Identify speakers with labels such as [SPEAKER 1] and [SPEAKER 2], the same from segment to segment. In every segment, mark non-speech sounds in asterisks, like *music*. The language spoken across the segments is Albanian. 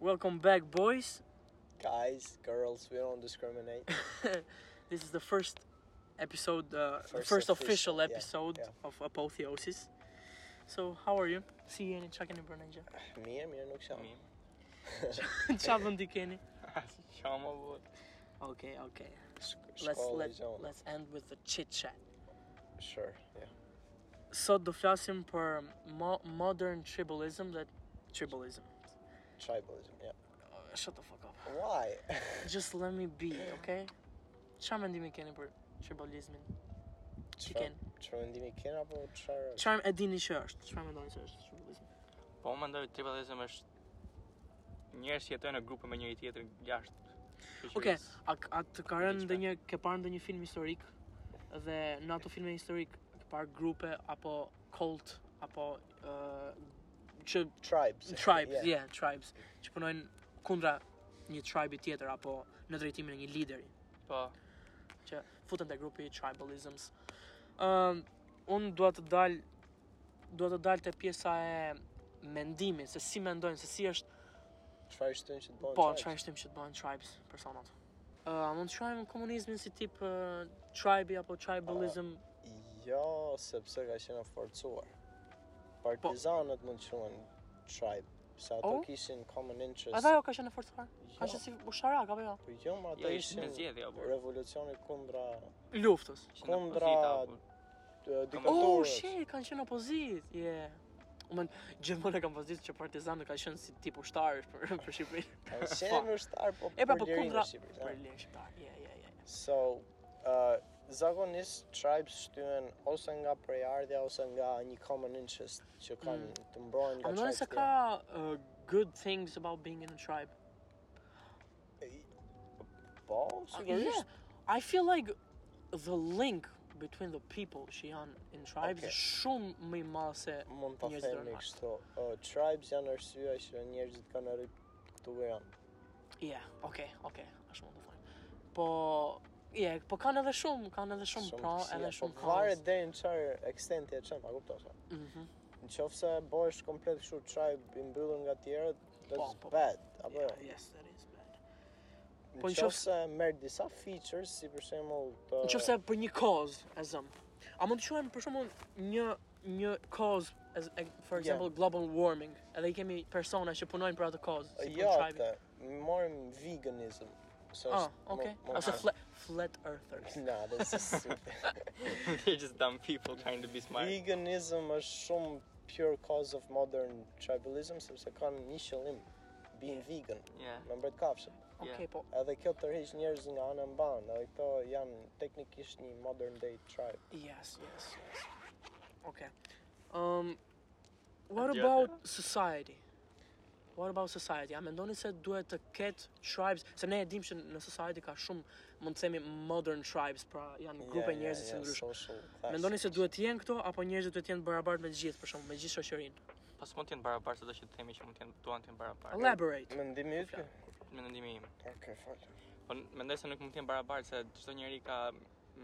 [SPEAKER 1] Welcome back, boys.
[SPEAKER 2] Guys, girls, we don't discriminate.
[SPEAKER 1] This is the first episode, uh, the
[SPEAKER 2] First
[SPEAKER 1] first official,
[SPEAKER 2] official, yeah,
[SPEAKER 1] episode
[SPEAKER 2] yeah.
[SPEAKER 1] of Apotheosis. So, how are you? Si jeni, qa keni bërë në *laughs* gjë?
[SPEAKER 2] mirë, mirë, nuk jam.
[SPEAKER 3] Mirë.
[SPEAKER 2] *laughs*
[SPEAKER 1] qa vëndi keni?
[SPEAKER 3] Qa më vot?
[SPEAKER 1] Okay, okay.
[SPEAKER 2] Sh-
[SPEAKER 1] Let's,
[SPEAKER 2] shkollë
[SPEAKER 1] let,
[SPEAKER 2] i gjonë.
[SPEAKER 1] let's end with the chit-chat.
[SPEAKER 2] Sure, yeah.
[SPEAKER 1] Sot do flasim për mo modern tribalism dhe tribalism.
[SPEAKER 2] Tribalism, yeah.
[SPEAKER 1] Uh, shut the fuck up.
[SPEAKER 2] Why?
[SPEAKER 1] Just let me be, okay? Qa mendimi keni për tribalizmin? Chicken.
[SPEAKER 2] Çfarë mendimi keni apo çfarë?
[SPEAKER 1] Qa e dini që është? Qa mendoni që është tribalizmi?
[SPEAKER 3] Po më ndoj tribalizëm është njerëz që jetojnë në grupe me njëri tjetrin jashtë.
[SPEAKER 1] Okej,
[SPEAKER 3] shoqërisë.
[SPEAKER 1] a, a të ka rënë
[SPEAKER 3] Diçka.
[SPEAKER 1] ndonjë ke parë ndonjë film historik dhe në ato filme historik ke parë grupe apo cult apo uh, që
[SPEAKER 2] Tribes.
[SPEAKER 1] tribes, yeah. tribes që punojnë kundra një tribe tjetër apo në drejtimin e një lideri
[SPEAKER 3] Po,
[SPEAKER 1] që futen te grupi i tribalisms. Ëm un dua të dal dua të dal te pjesa e mendimit, se si mendojnë, se si është
[SPEAKER 2] Çfarë shtojnë që të bëjnë?
[SPEAKER 1] Po,
[SPEAKER 2] tribes?
[SPEAKER 1] çfarë shtim që të bëhen tribes personat. Ë, a mund të shohim komunizmin si tip uh, tribe apo tribalism?
[SPEAKER 2] Oh. Jo, sepse ka qenë e forcuar. Partizanët mund të quhen tribe, sa ato
[SPEAKER 1] Oh?
[SPEAKER 2] kishin common interest.
[SPEAKER 1] A dhe ajo ka qenë e forcuar? Ka
[SPEAKER 2] Jo,
[SPEAKER 1] qenë si usharak apo jo?
[SPEAKER 2] po jo, ma ata
[SPEAKER 3] jo ishtë
[SPEAKER 2] ishin
[SPEAKER 3] me zjedhja, po.
[SPEAKER 2] revolucioni kundra
[SPEAKER 1] Luftës.
[SPEAKER 3] Ishin në
[SPEAKER 2] Kundra-
[SPEAKER 3] pozita, po.
[SPEAKER 2] e,
[SPEAKER 1] Oh
[SPEAKER 2] diktaturës.
[SPEAKER 1] shit, kanë qenë opozit. Yeah. Umen, gjithmonë e kam pozitë që partizanët kanë qenë si tip ushtarësh *laughs* për për Shqipërinë.
[SPEAKER 2] *laughs* Kanë qenë vështar, po
[SPEAKER 1] E pa
[SPEAKER 2] për
[SPEAKER 1] po
[SPEAKER 2] lirinë e
[SPEAKER 1] kundra
[SPEAKER 2] Shqipërisë,
[SPEAKER 1] për
[SPEAKER 2] ja.
[SPEAKER 1] lirë shqiptar. Yeah, yeah, yeah.
[SPEAKER 2] So, uh, zakonisht tribes shtyhen ose nga prejardhja ose nga një common interest që kanë të mbrojnë
[SPEAKER 1] Mm. A
[SPEAKER 2] nga
[SPEAKER 1] mendoni se
[SPEAKER 2] tribes
[SPEAKER 1] ka uh, good things about being in a tribe?
[SPEAKER 2] tjerë. Po,
[SPEAKER 1] Uh,
[SPEAKER 2] sigurisht.
[SPEAKER 1] I feel like the link between the people që janë in tribes
[SPEAKER 2] Okay.
[SPEAKER 1] është shumë më i madh se
[SPEAKER 2] Mund ta
[SPEAKER 1] njerëzit
[SPEAKER 2] themi
[SPEAKER 1] normal.
[SPEAKER 2] kështu. Uh, tribes janë arsyeja që njerëzit kanë arrit këtu ku janë.
[SPEAKER 1] yeah, okay, okay, ashtu mund të them. Po yeah, po kanë edhe shumë, kanë edhe shumë pra,
[SPEAKER 2] kësia,
[SPEAKER 1] edhe shumë
[SPEAKER 2] Po varet Mm-hmm. deri në çfarë ekstenti e çon, a kuptosh? a?
[SPEAKER 1] Mhm.
[SPEAKER 2] Në qoftë se bëhesh komplet kështu tribe i mbyllur nga tjerët,
[SPEAKER 1] po,
[SPEAKER 2] that's
[SPEAKER 1] po.
[SPEAKER 2] bad. Apo
[SPEAKER 1] Yeah,
[SPEAKER 2] jo?
[SPEAKER 1] yes, that is bad. Po
[SPEAKER 2] Në
[SPEAKER 1] në
[SPEAKER 2] qoftë
[SPEAKER 1] qoftë-
[SPEAKER 2] se merr disa features, si për shembull të
[SPEAKER 1] Nëse për një cause e zëm. A mund të quajmë për shembull një një cause as e- for
[SPEAKER 2] Yeah.
[SPEAKER 1] example global warming. Edhe i kemi persona që punojnë për atë cause, si
[SPEAKER 2] Jo,
[SPEAKER 1] për tribe.
[SPEAKER 2] atë, morëm veganism. So,
[SPEAKER 1] Ah, okay.
[SPEAKER 2] mo- mo-
[SPEAKER 1] Ose flat, flat
[SPEAKER 2] *laughs*
[SPEAKER 1] earthers. *laughs*
[SPEAKER 2] Na, this is stupid.
[SPEAKER 3] *laughs* They're just dumb people trying to be smart.
[SPEAKER 2] Veganism është shumë pure cause of modern tribalism, sepse kanë një qëllim, being vegan,
[SPEAKER 3] Yeah.
[SPEAKER 2] me mbret kafshën.
[SPEAKER 1] Okej,
[SPEAKER 3] Yeah.
[SPEAKER 1] po
[SPEAKER 2] Edhe kjo tërheq njerëz nga anë mban, edhe këto janë teknikisht një modern day tribe.
[SPEAKER 1] Yes, yes, yes. Okay. Um, what
[SPEAKER 3] Atje,
[SPEAKER 1] about society? What about society? A mendoni se duhet të ketë tribes, se ne e dim që në society ka shumë, mund të themi modern tribes, pra janë grupe
[SPEAKER 2] Yeah,
[SPEAKER 1] njerëzish që
[SPEAKER 2] yeah, yeah,
[SPEAKER 1] ndryshme.
[SPEAKER 2] social class.
[SPEAKER 1] Mendoni se duhet të jenë këto apo njerëzit duhet të jenë të barabartë me të gjithë, për shembull, me gjithë shoqërinë?
[SPEAKER 3] Pas mund të jenë barabartë, sado që të themi që mund të jenë duan të jenë barabartë.
[SPEAKER 1] Elaborate.
[SPEAKER 2] Mendimi yt? kë?
[SPEAKER 3] Në ndimi im.
[SPEAKER 2] Okej, fal.
[SPEAKER 3] Po n- mendoj se nuk mund të jenë barabartë se çdo njeri ka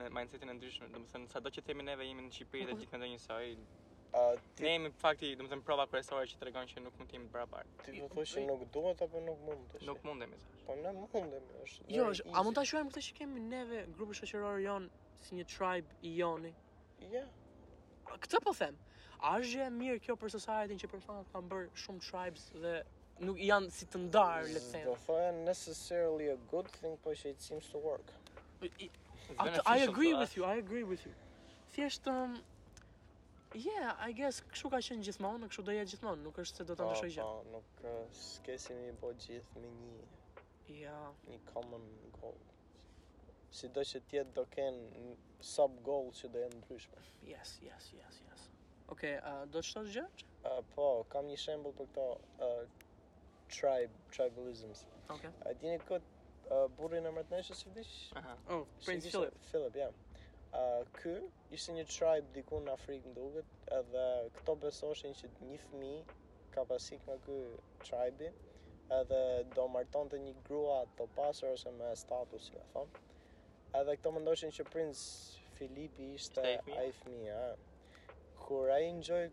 [SPEAKER 3] me mindsetin e ndryshëm, domethënë sado që themi neve jemi në Shqipëri
[SPEAKER 1] Mhm.
[SPEAKER 3] dhe gjithë mendojnë njësoj.
[SPEAKER 2] A
[SPEAKER 3] Ne
[SPEAKER 2] ti
[SPEAKER 3] jemi fakti, domethënë prova kryesore që tregon që nuk mund të jemi të barabartë.
[SPEAKER 2] ti po thua që nuk duhet apo nuk mund të?
[SPEAKER 3] Nuk mundemi thash.
[SPEAKER 2] Po ne mundem, është.
[SPEAKER 1] Jo,
[SPEAKER 2] very
[SPEAKER 1] është- a mund ta
[SPEAKER 2] easy.
[SPEAKER 1] shohim këtë që kemi neve grupi shoqëror jon si një tribe i joni?
[SPEAKER 2] Yeah.
[SPEAKER 1] A, Këtë po them. A është gjë e mirë kjo për society-n që personat kanë bërë shumë tribes dhe nuk janë si të ndarë, le të
[SPEAKER 2] Do
[SPEAKER 1] them.
[SPEAKER 2] thoya necessarily a good thing, po që it seems to work.
[SPEAKER 1] I- atë- I agree
[SPEAKER 3] pra.
[SPEAKER 1] with you, I agree with you. Thjesht um, Yeah, I guess kështu ka qenë gjithmonë, kështu do jetë gjithmonë, nuk është se do ta ndryshoj gjë.
[SPEAKER 2] po, nuk uh, s'kesi mi bo gjithë me një, po.
[SPEAKER 1] Ja.
[SPEAKER 2] një common goal. Si do që tjetë do kenë sub goal që do jenë ndryshme.
[SPEAKER 1] Yes, yes, yes, yes. Okej, uh, do të thosh gjë?
[SPEAKER 2] Uh, po, kam një shembul për këto uh, tribe, tribalisms.
[SPEAKER 1] Okej.
[SPEAKER 2] A dini këtë uh, burrin e mërtneshës i vdish?
[SPEAKER 3] Aha.
[SPEAKER 1] Oh, Prince Philip.
[SPEAKER 2] Philip, ja. Uh, ky ishte një tribe diku në Afrikë më duket, edhe këto besoshin që një fëmijë ka pasik nga ky tribe edhe do martonte një grua të pasur ose me status, si me thon. Edhe këto mendoshin që Prince Filipi ishte
[SPEAKER 3] Ishte ai fëmia?
[SPEAKER 2] ai fëmia. ja. Kur ai ngjoj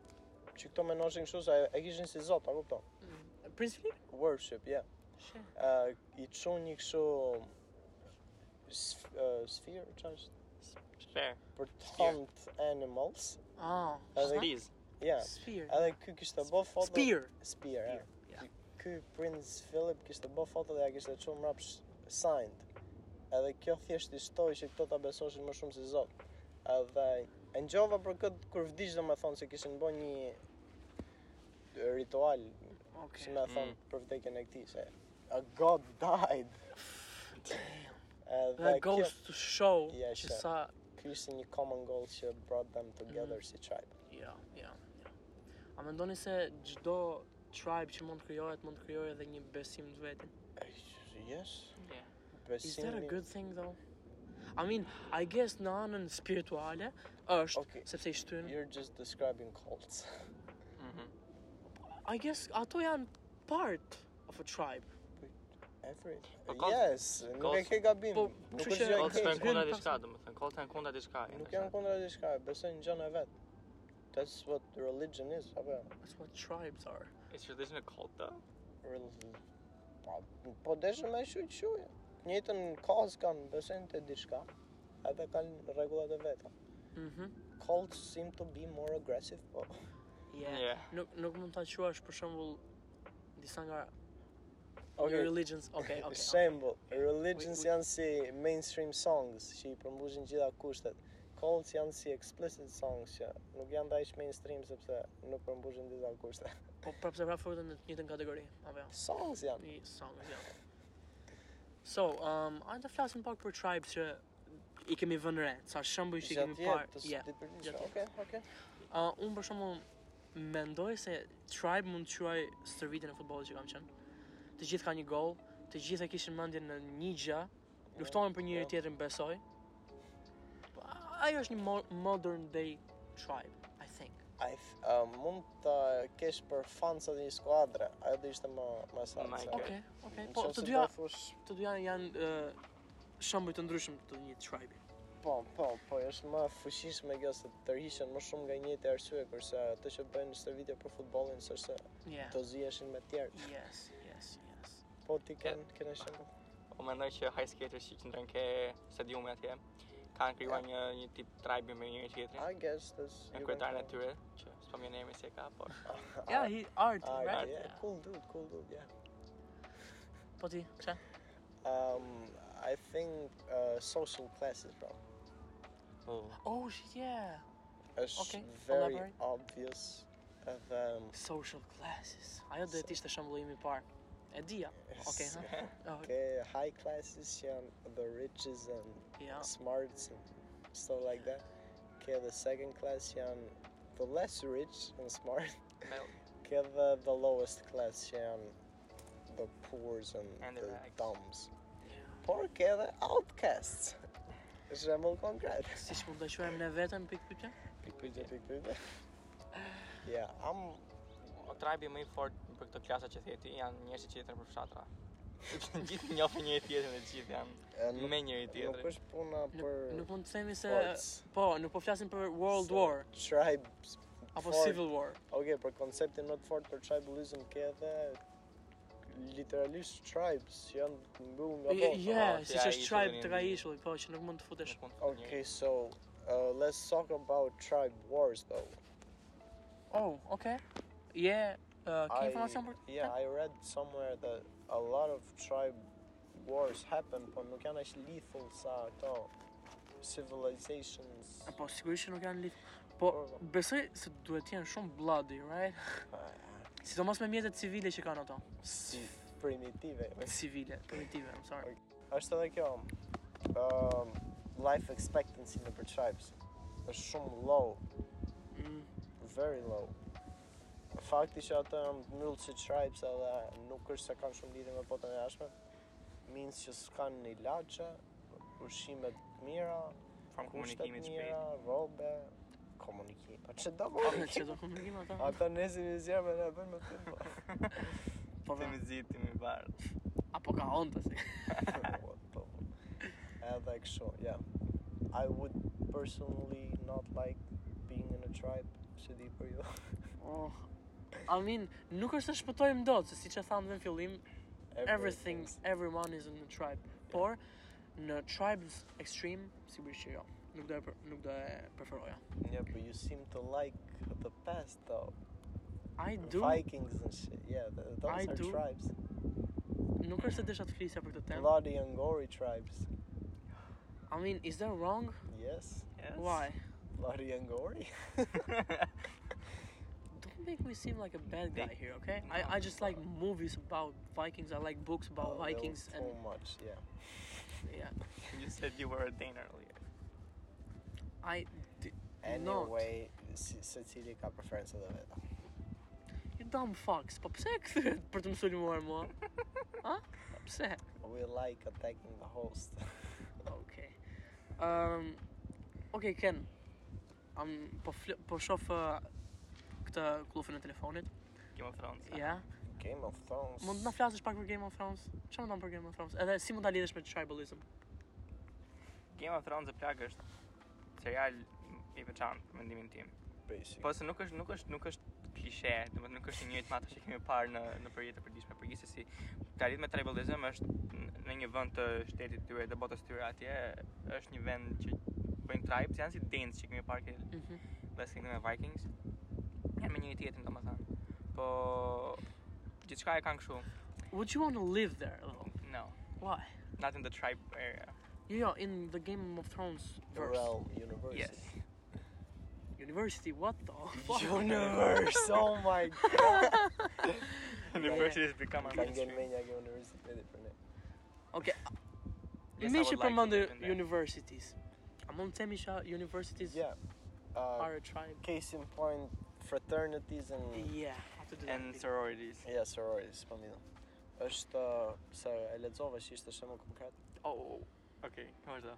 [SPEAKER 2] që këto mendoshin kështu se e kishin si zot, a kupton?
[SPEAKER 1] Prince Philip?
[SPEAKER 2] Worship, ja. Yeah.
[SPEAKER 1] She.
[SPEAKER 2] Uh, I çon një kështu sf- uh, sphere, çfarë është?
[SPEAKER 3] Shper.
[SPEAKER 2] Për të hunt animals.
[SPEAKER 1] Ah,
[SPEAKER 2] Edhe-
[SPEAKER 1] shna?
[SPEAKER 3] Please.
[SPEAKER 2] Ja.
[SPEAKER 1] Spear.
[SPEAKER 2] Edhe po ky kishte bë foto.
[SPEAKER 1] Spear.
[SPEAKER 2] Spear. ja.
[SPEAKER 1] ja.
[SPEAKER 2] Ky Prince Philip kishte bë foto dhe ja kishte çuar mrap sh- signed. Edhe kjo thjesht i shtoi që këto ta besoshin më shumë se Zot. Edhe e ngjova për këtë kur vdiq domethënë se kishin bën një ritual, si
[SPEAKER 1] Okay.
[SPEAKER 2] më thon, për vdekjen e këtij se a god died. Edhe
[SPEAKER 1] That
[SPEAKER 2] kjo
[SPEAKER 1] goes to show
[SPEAKER 2] Ja,
[SPEAKER 1] që
[SPEAKER 2] she.
[SPEAKER 1] sa
[SPEAKER 2] ky ishte një common goal që brought them together
[SPEAKER 1] Mm.
[SPEAKER 2] si tribe.
[SPEAKER 1] Ja, ja, ja. A mendoni se çdo tribe që mund të krijohet mund të krijojë edhe një besim të vetin?
[SPEAKER 2] Yes.
[SPEAKER 3] Yeah.
[SPEAKER 1] Is that a
[SPEAKER 2] Besimi.
[SPEAKER 1] good thing though? I mean, I guess në anën spirituale është
[SPEAKER 2] Okay.
[SPEAKER 1] sepse i shtyn.
[SPEAKER 2] You're just describing cults.
[SPEAKER 3] Mhm.
[SPEAKER 1] I guess ato janë part of a tribe.
[SPEAKER 2] Every.
[SPEAKER 3] Po, cult-
[SPEAKER 2] yes, nuk e
[SPEAKER 3] cult-
[SPEAKER 2] ke gabim.
[SPEAKER 1] Po,
[SPEAKER 2] nuk
[SPEAKER 1] kështu
[SPEAKER 2] është
[SPEAKER 1] që-
[SPEAKER 2] gjë e
[SPEAKER 3] Koltë
[SPEAKER 1] Cults
[SPEAKER 2] keqe.
[SPEAKER 3] shkojnë kundra
[SPEAKER 1] Hyn
[SPEAKER 3] diçka, domethënë, koltë janë kundra diçka.
[SPEAKER 2] Nuk janë kundra diçka, besojnë gjën e vet. That's what religion is, apo?
[SPEAKER 1] That's what tribes are.
[SPEAKER 3] Is religion a cult though?
[SPEAKER 2] Rel- Po, po deshën me shu shu. Njëtën kaz kanë besojnë te diçka, edhe kanë rregullat e veta.
[SPEAKER 1] Mhm.
[SPEAKER 2] Cults seem to be more aggressive, po.
[SPEAKER 1] Yeah.
[SPEAKER 3] Yeah.
[SPEAKER 1] Nuk nuk mund ta quash për shembull disa nga
[SPEAKER 2] Okay.
[SPEAKER 1] your religions. Okay, okay. okay.
[SPEAKER 2] Shembull, religions
[SPEAKER 1] We- we-
[SPEAKER 2] janë si mainstream songs që i përmbushin gjitha kushtet. Cults janë si explicit songs që nuk janë dajsh mainstream sepse nuk përmbushin gjitha kushtet.
[SPEAKER 1] Po prapse prapë futën në të njëjtën kategori. Apo jo.
[SPEAKER 2] Songs janë.
[SPEAKER 1] I songs janë. So, um, a të flasim pak për tribes që i kemi vënë re, sa shembuj që i kemi parë.
[SPEAKER 2] jetës
[SPEAKER 1] Yeah.
[SPEAKER 2] ditë për ditë.
[SPEAKER 1] gjatë
[SPEAKER 2] Okej, okej.
[SPEAKER 1] Uh, unë për shembull mendoj se tribe mund të quaj stërvitjen e futbollit që kam qenë. Të gjithë kanë një gol, të gjithë e kishin mendjen në një gjë, luftohen për njëri
[SPEAKER 2] po.
[SPEAKER 1] tjetrin besoj. Po, a- Ajo është një mo- modern day tribe, I think.
[SPEAKER 2] Ai th- uh, mund të kesh për fansat e një skuadre, ajo do ishte më më saktë.
[SPEAKER 3] My
[SPEAKER 2] se-
[SPEAKER 3] God.
[SPEAKER 1] Okej, okay.
[SPEAKER 2] Në
[SPEAKER 1] Po
[SPEAKER 2] qoftë
[SPEAKER 1] të
[SPEAKER 2] se
[SPEAKER 1] dyja,
[SPEAKER 2] do fush-
[SPEAKER 1] të dyja janë uh, shembuj të ndryshëm të një tribe.
[SPEAKER 2] Po, po, po, është më e fuqishme kjo se të tërhiqen më shumë nga njëjti arsye kurse ato që bëjnë stërvitje për futbollin s'është
[SPEAKER 1] Yeah.
[SPEAKER 2] të ziheshin me të tjerë.
[SPEAKER 1] Yes, yes, yes.
[SPEAKER 2] Po ti ken kene shembull.
[SPEAKER 3] Po mendoj që high skaters që qëndrojnë ke stadiumi atje kanë krijuar një një tip tribe me njëri tjetrin.
[SPEAKER 2] I guess that's
[SPEAKER 3] Me
[SPEAKER 2] you
[SPEAKER 3] kryetarin
[SPEAKER 2] *laughs*
[SPEAKER 3] e
[SPEAKER 2] can
[SPEAKER 3] tyre, që s'po më emrin se ka, po. por
[SPEAKER 2] call-
[SPEAKER 1] Ja, hi art,
[SPEAKER 2] Ah, ah,
[SPEAKER 1] right?
[SPEAKER 2] yeah, cool dude, cool dude, yeah.
[SPEAKER 1] Po ti, çe?
[SPEAKER 2] Um, I think uh, social classes, bro.
[SPEAKER 3] Po. *laughs*
[SPEAKER 1] Oh, shit, yeah.
[SPEAKER 2] Është
[SPEAKER 1] Okay,
[SPEAKER 2] very
[SPEAKER 1] elaborate.
[SPEAKER 2] obvious. Edhe um,
[SPEAKER 1] Social classes. Ajo do të ishte shembulli im i parë. E dija. Okej, ha. Oh,
[SPEAKER 2] ke high classes që janë the riches and
[SPEAKER 1] ja.
[SPEAKER 2] smarts and stuff like that. Ke the second class që janë the less rich and smart. *laughs*
[SPEAKER 3] Well.
[SPEAKER 2] Ke the, the lowest class që janë the poors and,
[SPEAKER 3] And the
[SPEAKER 2] the
[SPEAKER 3] rags.
[SPEAKER 2] dumbs. Por ke edhe outcasts. Shembull konkret.
[SPEAKER 1] Siç mund ta quajmë ne veten pikë pyetje?
[SPEAKER 2] Pikpyetje, pikpyetje. Ja, am
[SPEAKER 3] o Po, tribe më i fortë për këtë klasa që thjeti janë njerëzit që jetojnë për fshatra. *laughs* Sepse gjithë njohin njëri tjetrin dhe gjithë janë
[SPEAKER 2] e, nuk,
[SPEAKER 3] me njëri
[SPEAKER 2] nuk
[SPEAKER 3] tjetrin.
[SPEAKER 2] është puna
[SPEAKER 1] Nuk,
[SPEAKER 2] për
[SPEAKER 1] nuk mund të themi se
[SPEAKER 2] forts.
[SPEAKER 1] po, nuk po flasim për World
[SPEAKER 2] Se
[SPEAKER 1] War
[SPEAKER 2] Tribes.
[SPEAKER 1] apo
[SPEAKER 2] fort.
[SPEAKER 1] Civil War.
[SPEAKER 2] Okej, për konceptin më të fortë për tribalism ke edhe literalisht tribes që janë mbyllur nga
[SPEAKER 1] I-
[SPEAKER 2] bota.
[SPEAKER 1] Yeah,
[SPEAKER 3] Ah,
[SPEAKER 1] siç
[SPEAKER 3] si ai
[SPEAKER 1] është tribe
[SPEAKER 3] ishulli
[SPEAKER 1] të ka
[SPEAKER 3] i-
[SPEAKER 1] ishulli, po që nuk mund të futesh.
[SPEAKER 3] Nuk mund të thotë njëri.
[SPEAKER 2] Okay, so uh, let's talk about tribe wars though.
[SPEAKER 1] Oh, okay. Yeah, uh, ke
[SPEAKER 2] I-
[SPEAKER 1] informacion për
[SPEAKER 2] Yeah, I read somewhere that a lot of tribe wars happen, por nuk janë as lethal sa ato civilizations.
[SPEAKER 1] Po sigurisht që nuk janë lidh. Po
[SPEAKER 2] Po, po.
[SPEAKER 1] besoj se duhet të jenë shumë bloody, right? Sidomos me mjetet civile që kanë ato.
[SPEAKER 2] Si primitive.
[SPEAKER 1] Civile, primitive, I'm sorry.
[SPEAKER 2] Është edhe kjo um, life expectancy në për tribes. Është shumë low,
[SPEAKER 1] Mm.
[SPEAKER 2] very low. Fakti që ato janë mbyllë si tribes edhe nuk është se kanë shumë lidhje me botën e jashtme, means që s'kanë një lagje, ushqime të mira,
[SPEAKER 3] Form
[SPEAKER 2] kushtet
[SPEAKER 3] komunikimit
[SPEAKER 2] mira,
[SPEAKER 3] shpejt.
[SPEAKER 2] robe, komunikim. Po ç'do do
[SPEAKER 1] *laughs* Që
[SPEAKER 2] komunikim?
[SPEAKER 1] do komunikim ata?
[SPEAKER 2] Ata nesin e zjerë me ne bën me të po.
[SPEAKER 1] Po
[SPEAKER 3] Të
[SPEAKER 1] pra,
[SPEAKER 3] mi zit, të mi bar.
[SPEAKER 1] apo ka onda si.
[SPEAKER 2] What the Edhe kështu, yeah. I would personally not like being in a tribe, si di për ju. *laughs*
[SPEAKER 1] Oh. I mean, nuk është se shpëtojmë dot, se siç e thamë dhe në fillim, everything, everyone is in the tribe. Por në tribes extreme sigurisht që jo. Nuk do e pre- nuk do e preferoja.
[SPEAKER 2] Yeah, but you seem to like the past though.
[SPEAKER 1] I do
[SPEAKER 2] Vikings and shit. Yeah, th- those
[SPEAKER 1] I
[SPEAKER 2] are
[SPEAKER 1] do.
[SPEAKER 2] tribes.
[SPEAKER 1] nuk është se desha të flisja për këtë
[SPEAKER 2] A
[SPEAKER 1] temë.
[SPEAKER 2] lot of Angori tribes.
[SPEAKER 1] I mean, is that wrong?
[SPEAKER 2] Yes.
[SPEAKER 1] *laughs* Why?
[SPEAKER 2] Bloody
[SPEAKER 1] *laughs*
[SPEAKER 2] Angori.
[SPEAKER 1] Don't make me seem like a bad guy
[SPEAKER 3] They-
[SPEAKER 1] here, okay?
[SPEAKER 3] No,
[SPEAKER 1] I, I
[SPEAKER 3] no
[SPEAKER 1] just like movies about Vikings. I like books about
[SPEAKER 2] Oh, that was
[SPEAKER 1] Vikings and
[SPEAKER 2] too much, yeah.
[SPEAKER 1] yeah.
[SPEAKER 3] *laughs* you said you were a Dane earlier.
[SPEAKER 1] I d- not.
[SPEAKER 2] Anyway, Se- Cecily ka preferenca të veta.
[SPEAKER 1] You dumb fucks. Po pse e kthyet për të më sulmuar
[SPEAKER 3] *laughs*
[SPEAKER 1] mua? Ha? Pse?
[SPEAKER 2] We like attacking the
[SPEAKER 1] *laughs*
[SPEAKER 2] host.
[SPEAKER 1] Okay. Um, okay, Ken. Um, po, fl- po shof uh, këtë klufën e telefonit.
[SPEAKER 3] Game of Thrones.
[SPEAKER 1] Ja.
[SPEAKER 3] a?
[SPEAKER 2] Game of Thrones.
[SPEAKER 1] Mund të na flasësh pak për Game of Thrones? Çfarë mendon për Game of Thrones? Edhe si mund ta lidhësh me tribalism?
[SPEAKER 3] Game of Thrones e plagë është serial i veçantë për mendimin tim.
[SPEAKER 2] Basic.
[SPEAKER 3] Po se nuk është nuk është nuk është klishe, domethënë nuk është e njëjtë me ato që kemi parë në në përjetë e përditshme, por gjithsesi ta lidh me tribalizëm është n- në një vend të shtetit tyre të botës tyre atje, është një vend që bëjnë tribes, janë si dance që kemi parë ke
[SPEAKER 1] Mhm.
[SPEAKER 3] bashkë me Vikings. Janë me njëri tjetrin domethënë. Po gjithçka e kanë kështu.
[SPEAKER 1] Would you want to live there though?
[SPEAKER 3] No,
[SPEAKER 1] Why?
[SPEAKER 3] not in the tribe area.
[SPEAKER 1] You know, in the Game of Thrones verse.
[SPEAKER 2] Realm
[SPEAKER 1] *laughs*
[SPEAKER 2] University.
[SPEAKER 3] Yes.
[SPEAKER 1] University, what the
[SPEAKER 2] *laughs*
[SPEAKER 1] fuck? *laughs*
[SPEAKER 2] Universe. oh my god.
[SPEAKER 3] *laughs* University has become our
[SPEAKER 2] Kanë
[SPEAKER 3] mainstream.
[SPEAKER 2] gjenë menja ke universitetit për ne.
[SPEAKER 1] Okay.
[SPEAKER 3] Yes, I
[SPEAKER 1] Mi
[SPEAKER 3] would
[SPEAKER 1] që
[SPEAKER 3] like to
[SPEAKER 1] përmendë
[SPEAKER 3] live in there.
[SPEAKER 1] universities. A mund të themi që universities
[SPEAKER 2] Yeah. Uh,
[SPEAKER 1] are a tribe?
[SPEAKER 2] case in point fraternities and
[SPEAKER 1] Yeah, atë do
[SPEAKER 3] and
[SPEAKER 1] të
[SPEAKER 3] sororities.
[SPEAKER 2] Ja, sororities, po mirë. Është uh, se e lexova që ishte shembull konkret.
[SPEAKER 3] Oh, okay, vazhdo.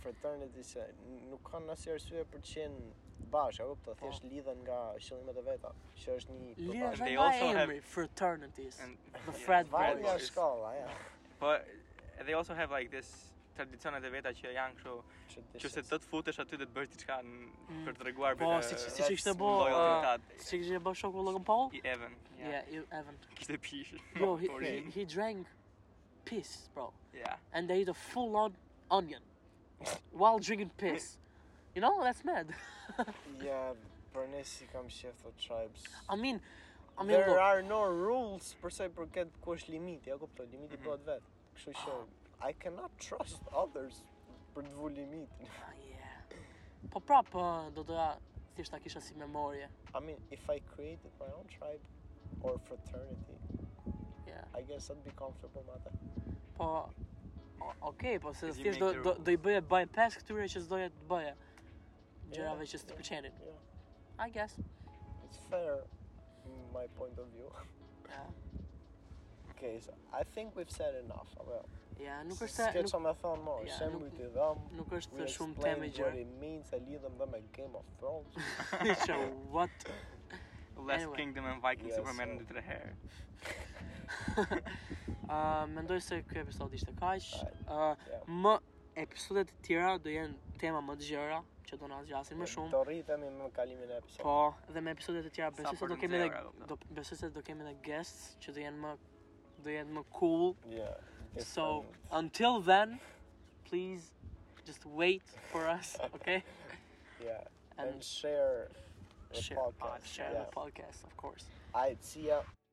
[SPEAKER 2] Fraternity se n- nuk kanë asnjë arsye për të qenë bashkë, apo kupton, thjesht lidhen nga qëllimet e veta, që është një
[SPEAKER 1] Lidhe
[SPEAKER 3] they
[SPEAKER 1] dhe Po. nga
[SPEAKER 3] also have-
[SPEAKER 1] emri, fraternities.
[SPEAKER 3] And
[SPEAKER 1] The frat
[SPEAKER 2] Varet
[SPEAKER 1] Frat
[SPEAKER 2] nga
[SPEAKER 1] boys.
[SPEAKER 2] shkolla,
[SPEAKER 1] *laughs*
[SPEAKER 2] ja.
[SPEAKER 3] Po they also have like this tradicionet e veta që janë kështu, nëse do të futesh aty do të bësh diçka n-
[SPEAKER 1] Mm.
[SPEAKER 3] për të treguar
[SPEAKER 1] Po, si si që ishte bo,
[SPEAKER 2] loyal
[SPEAKER 1] uh,
[SPEAKER 3] lojalitetat
[SPEAKER 1] si që ishte bo shoku Logan Paul?
[SPEAKER 3] i Evan.
[SPEAKER 1] Yeah, you
[SPEAKER 3] *laughs*
[SPEAKER 1] haven't.
[SPEAKER 3] Kishte pish.
[SPEAKER 1] Yo, he, he,
[SPEAKER 3] Motorin.
[SPEAKER 1] he drank piss, bro.
[SPEAKER 3] Yeah.
[SPEAKER 1] And they ate a full-on onion while drinking
[SPEAKER 3] *laughs*
[SPEAKER 1] piss. You know, that's mad. *laughs*
[SPEAKER 2] Ja, për ne si kam shef të tribes.
[SPEAKER 1] I mean, I mean,
[SPEAKER 2] There
[SPEAKER 1] look,
[SPEAKER 2] are no rules për sa i përket ku është limiti, ja kupton, limiti
[SPEAKER 3] Mhm.
[SPEAKER 2] bëhet vetë. Kështu që
[SPEAKER 1] Ah.
[SPEAKER 2] I cannot trust others për të vu limitin.
[SPEAKER 1] Ah, yeah. Po prap, ë, do uh, doja thjesht ta kisha si memorje.
[SPEAKER 2] I mean, if I created my own tribe or fraternity,
[SPEAKER 1] Yeah.
[SPEAKER 2] I guess I'd be comfortable me atë.
[SPEAKER 1] Po o- Okej, po se
[SPEAKER 3] Did you
[SPEAKER 1] thjesht do
[SPEAKER 3] make the
[SPEAKER 1] do,
[SPEAKER 3] rules?
[SPEAKER 1] do i bëje bypass këtyre që s'doja të bëje. Gjërave
[SPEAKER 2] Yeah,
[SPEAKER 1] që s'të
[SPEAKER 2] yeah,
[SPEAKER 1] pëlqenin.
[SPEAKER 2] yeah.
[SPEAKER 1] I guess.
[SPEAKER 2] It's fair, in my point of view.
[SPEAKER 1] Yeah.
[SPEAKER 2] Okay, so I think we've said enough. Well,
[SPEAKER 1] Ja, nuk
[SPEAKER 2] s-
[SPEAKER 1] është se-
[SPEAKER 2] s'ke
[SPEAKER 1] nuk,
[SPEAKER 2] çfarë me thonë më,
[SPEAKER 1] Ja,
[SPEAKER 2] shembuj
[SPEAKER 1] nuk-
[SPEAKER 2] t'i dhëm,
[SPEAKER 1] nuk
[SPEAKER 2] we
[SPEAKER 1] është shumë
[SPEAKER 2] explained
[SPEAKER 1] temë gjë.
[SPEAKER 2] what it means, e lidhëm dhe me Game of Thrones.
[SPEAKER 1] *laughs* Që what?
[SPEAKER 3] Last
[SPEAKER 1] Anyway.
[SPEAKER 3] Kingdom and Vikings
[SPEAKER 2] Yeah,
[SPEAKER 3] super merren
[SPEAKER 2] so-
[SPEAKER 3] dy tre herë.
[SPEAKER 1] Ah, mendoj se ky episod ishte kaq.
[SPEAKER 2] Alright.
[SPEAKER 1] Ah,
[SPEAKER 2] Yeah.
[SPEAKER 1] më episodet të tjera do jenë tema më të gjëra që do na zgjasin më shumë.
[SPEAKER 2] Do rritemi me kalimin e episodit.
[SPEAKER 1] Po, dhe me episodet e tjera
[SPEAKER 3] Sa
[SPEAKER 1] besoj se
[SPEAKER 3] për
[SPEAKER 1] do
[SPEAKER 3] të
[SPEAKER 1] kemi edhe
[SPEAKER 3] nxjerrë, apo?
[SPEAKER 1] do besoj se do kemi edhe guests që do jenë më do jenë më cool.
[SPEAKER 2] Yeah.
[SPEAKER 1] So
[SPEAKER 2] different.
[SPEAKER 1] until then, please just wait for us, okay?
[SPEAKER 2] yeah, and,
[SPEAKER 1] And
[SPEAKER 2] share the
[SPEAKER 1] share,
[SPEAKER 2] podcast.
[SPEAKER 1] share
[SPEAKER 2] yeah.
[SPEAKER 1] the podcast, of course.
[SPEAKER 2] Alright, see ya.